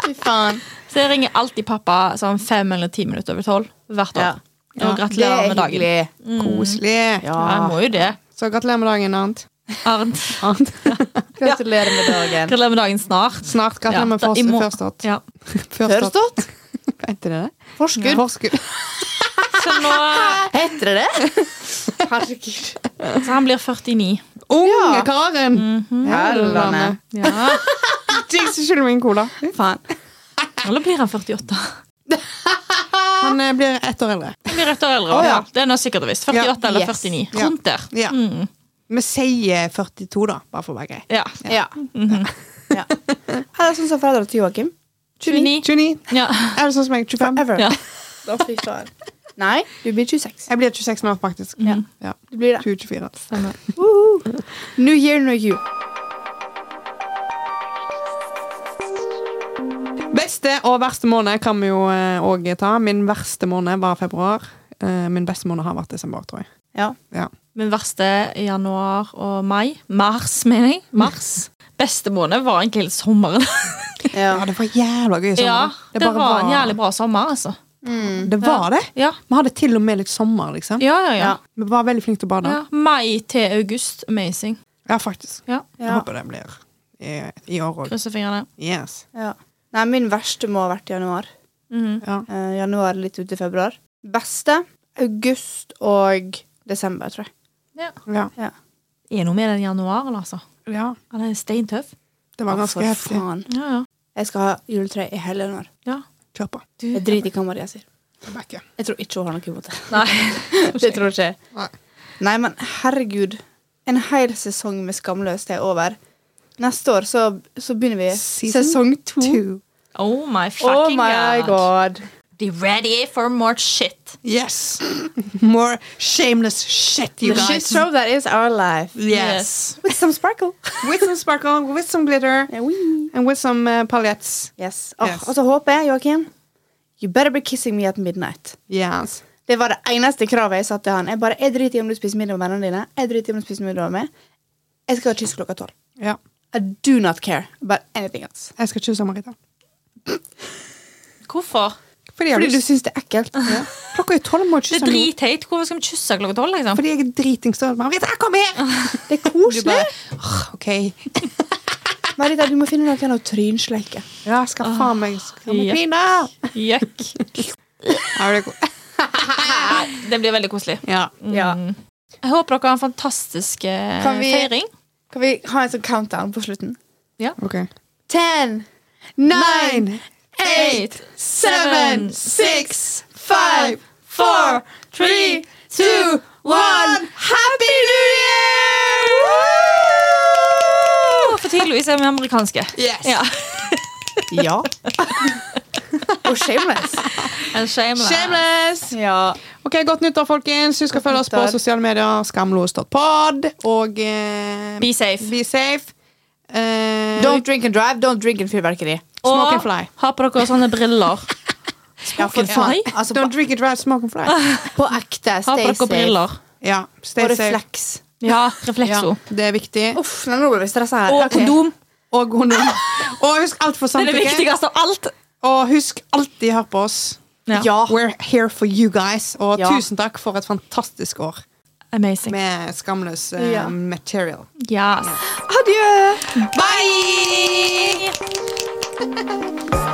Fy faen. Så jeg ringer alltid pappa sånn fem eller ti minutter over tolv hvert år. Ja. Og gratulerer med dagen. hyggelig. Koselig. Mm. Ja. Ja, jeg må jo det. Så gratulerer med dagen, Arnt. Arnt. Arnt. Gratulerer med dagen. Gratulerer med dagen snart. Snart gratulerer med Ja, da- i fors- morgen. førstått. Ja. Førstått. Førstått? Heter det det? Forskudd? Forskudd. Så, nå, Heter det det? Herregud. så han blir 49. Unge karen! Helvete. Mhm. Ja. Jesus, skyld meg en cola. Faen. Eller blir han 48? Han eh, blir ett år eldre. Han blir ett år eldre. Å, ja. Det er noe sikkert og visst. 48 Ja, eller yes. 49. Ja. Rundt der. Ja. Mm. Vi sier 42, da, bare for å være grei. Ja. Ja. ja. Er det sånn som foreldra til Joakim? 29. 29. Ja. Er det sånn som meg? 25? Ever. Ja. Da fy faen. Nei, du blir 26. Jeg blir 26 nå, faktisk. Ja. Ja. Du blir det. 2024. Woohoo. New year, new you. Beste og verste måned kan vi jo òg ta. Min verste måned var februar. Eh, Min beste måned har vært desember, tror jeg. Ja. Ja. Min verste januar og mai. Mars, mener jeg. Mars. Beste måned var egentlig hele sommeren. ja, det var jævla gøy i sommer. Ja, det det bare var en var- jævlig bra sommer, altså. Mm. Det var det? Ja, Vi hadde til og med litt sommer, liksom. ja, ja. ja. Ja. Vi var veldig flinke til å bade. ja. Ja, Mai til august. Amazing. faktisk. Ja. Jeg håper det blir i, i år òg. Krysser fingrene. Yes. Ja. Nei, min verste må ha vært januar. Mhm. Ja. Eh, januar litt ut i februar. Beste august og desember, tror jeg. Ja. Er det noe med den januaren, altså? ja. Han er steintøff. Det var Å, ganske for heftig. faen. Ja, ja. Jeg skal ha juletre i hele januar. ja. Kjør på. Du, Jeg driter i hva Maria sier. Tilbake. Jeg tror ikke hun har noe imot det. Nei. Det tror ikke jeg. Nei. Nei, men herregud. En hel sesong med Skamløst er over. Neste år så, så begynner vi Season sesong to. Two. Oh my Oh fucking my god. Be ready for more shit. Yes! More shameless shit, you The guys. shit show that is our life. Yes. With some sparkle. With some sparkle, with some glitter, Yeah, wee. and with some uh, paljettes. Yes. Åh, Yes. Og så håper jeg, Joakim You better be kissing me at midnight. Yes. Det var det eneste kravet jeg sa til han. Jeg bare, jeg driter i om du spiser middag med vennene dine. Jeg driter i om du spiser middag med meg. Jeg skal ha kyss klokka tolv. Ja. I do not care about anything else. Jeg skal kysse Marita. Hvorfor? Fordi, jeg har Fordi du lyst. syns det er ekkelt. Klokka er tolv, må jeg Det kysse er noen. dritheit. Hvorfor skal vi kysse klokka tolv? Liksom? Fordi jeg er dritings. da. Marita, kom her! Det er Du koselig. bare «Åh, OK. Marita, du må finne noen å trynsleike. Ja, skal faen meg Skal vi ja. kline? Jøkk. Ja, det er god. Det blir veldig koselig. Mm. Ja. Ja. Jeg håper dere har en fantastisk eh, Kan vi- feiring. Kan vi ha en sånn countdown på slutten? OK. Ten, nine, Eight, seven, six, five, four, three, two, one. Happy New Year! Å, For tydeligvis er vi amerikanske. Yes. Ja. Ja. Og shameless. En shameless. Shameless! Ja. Ok, Godt nyttår, folkens. Husk å følge oss på nyttår. sosiale medier. Skamlos.pod. Og eh, Be safe. Be safe. Eh, Don't drink and drive, don't drink and fyrverkeri. Smoke and Og fly. ha på dere sånne briller. Ja, for and faen. fly? Altså, Don't på, drink and drive, smoke and fly. på ekte, Ha på stay dere safe. briller. Ja, stay Og safe. refleks. Ja, Ja, reflekso. det er viktig. Uff, nei, nå ble vi stressa her. Og Ok. kondom. Og kondom. Og husk alt for Det er det samtykke. viktigste av alt. Og husk alltid hør på oss. Ja. We're here for you guys. Og Ja. tusen takk for et fantastisk år Amazing. med skamløs eh, Ja. material. Yes. Adjø! Bye!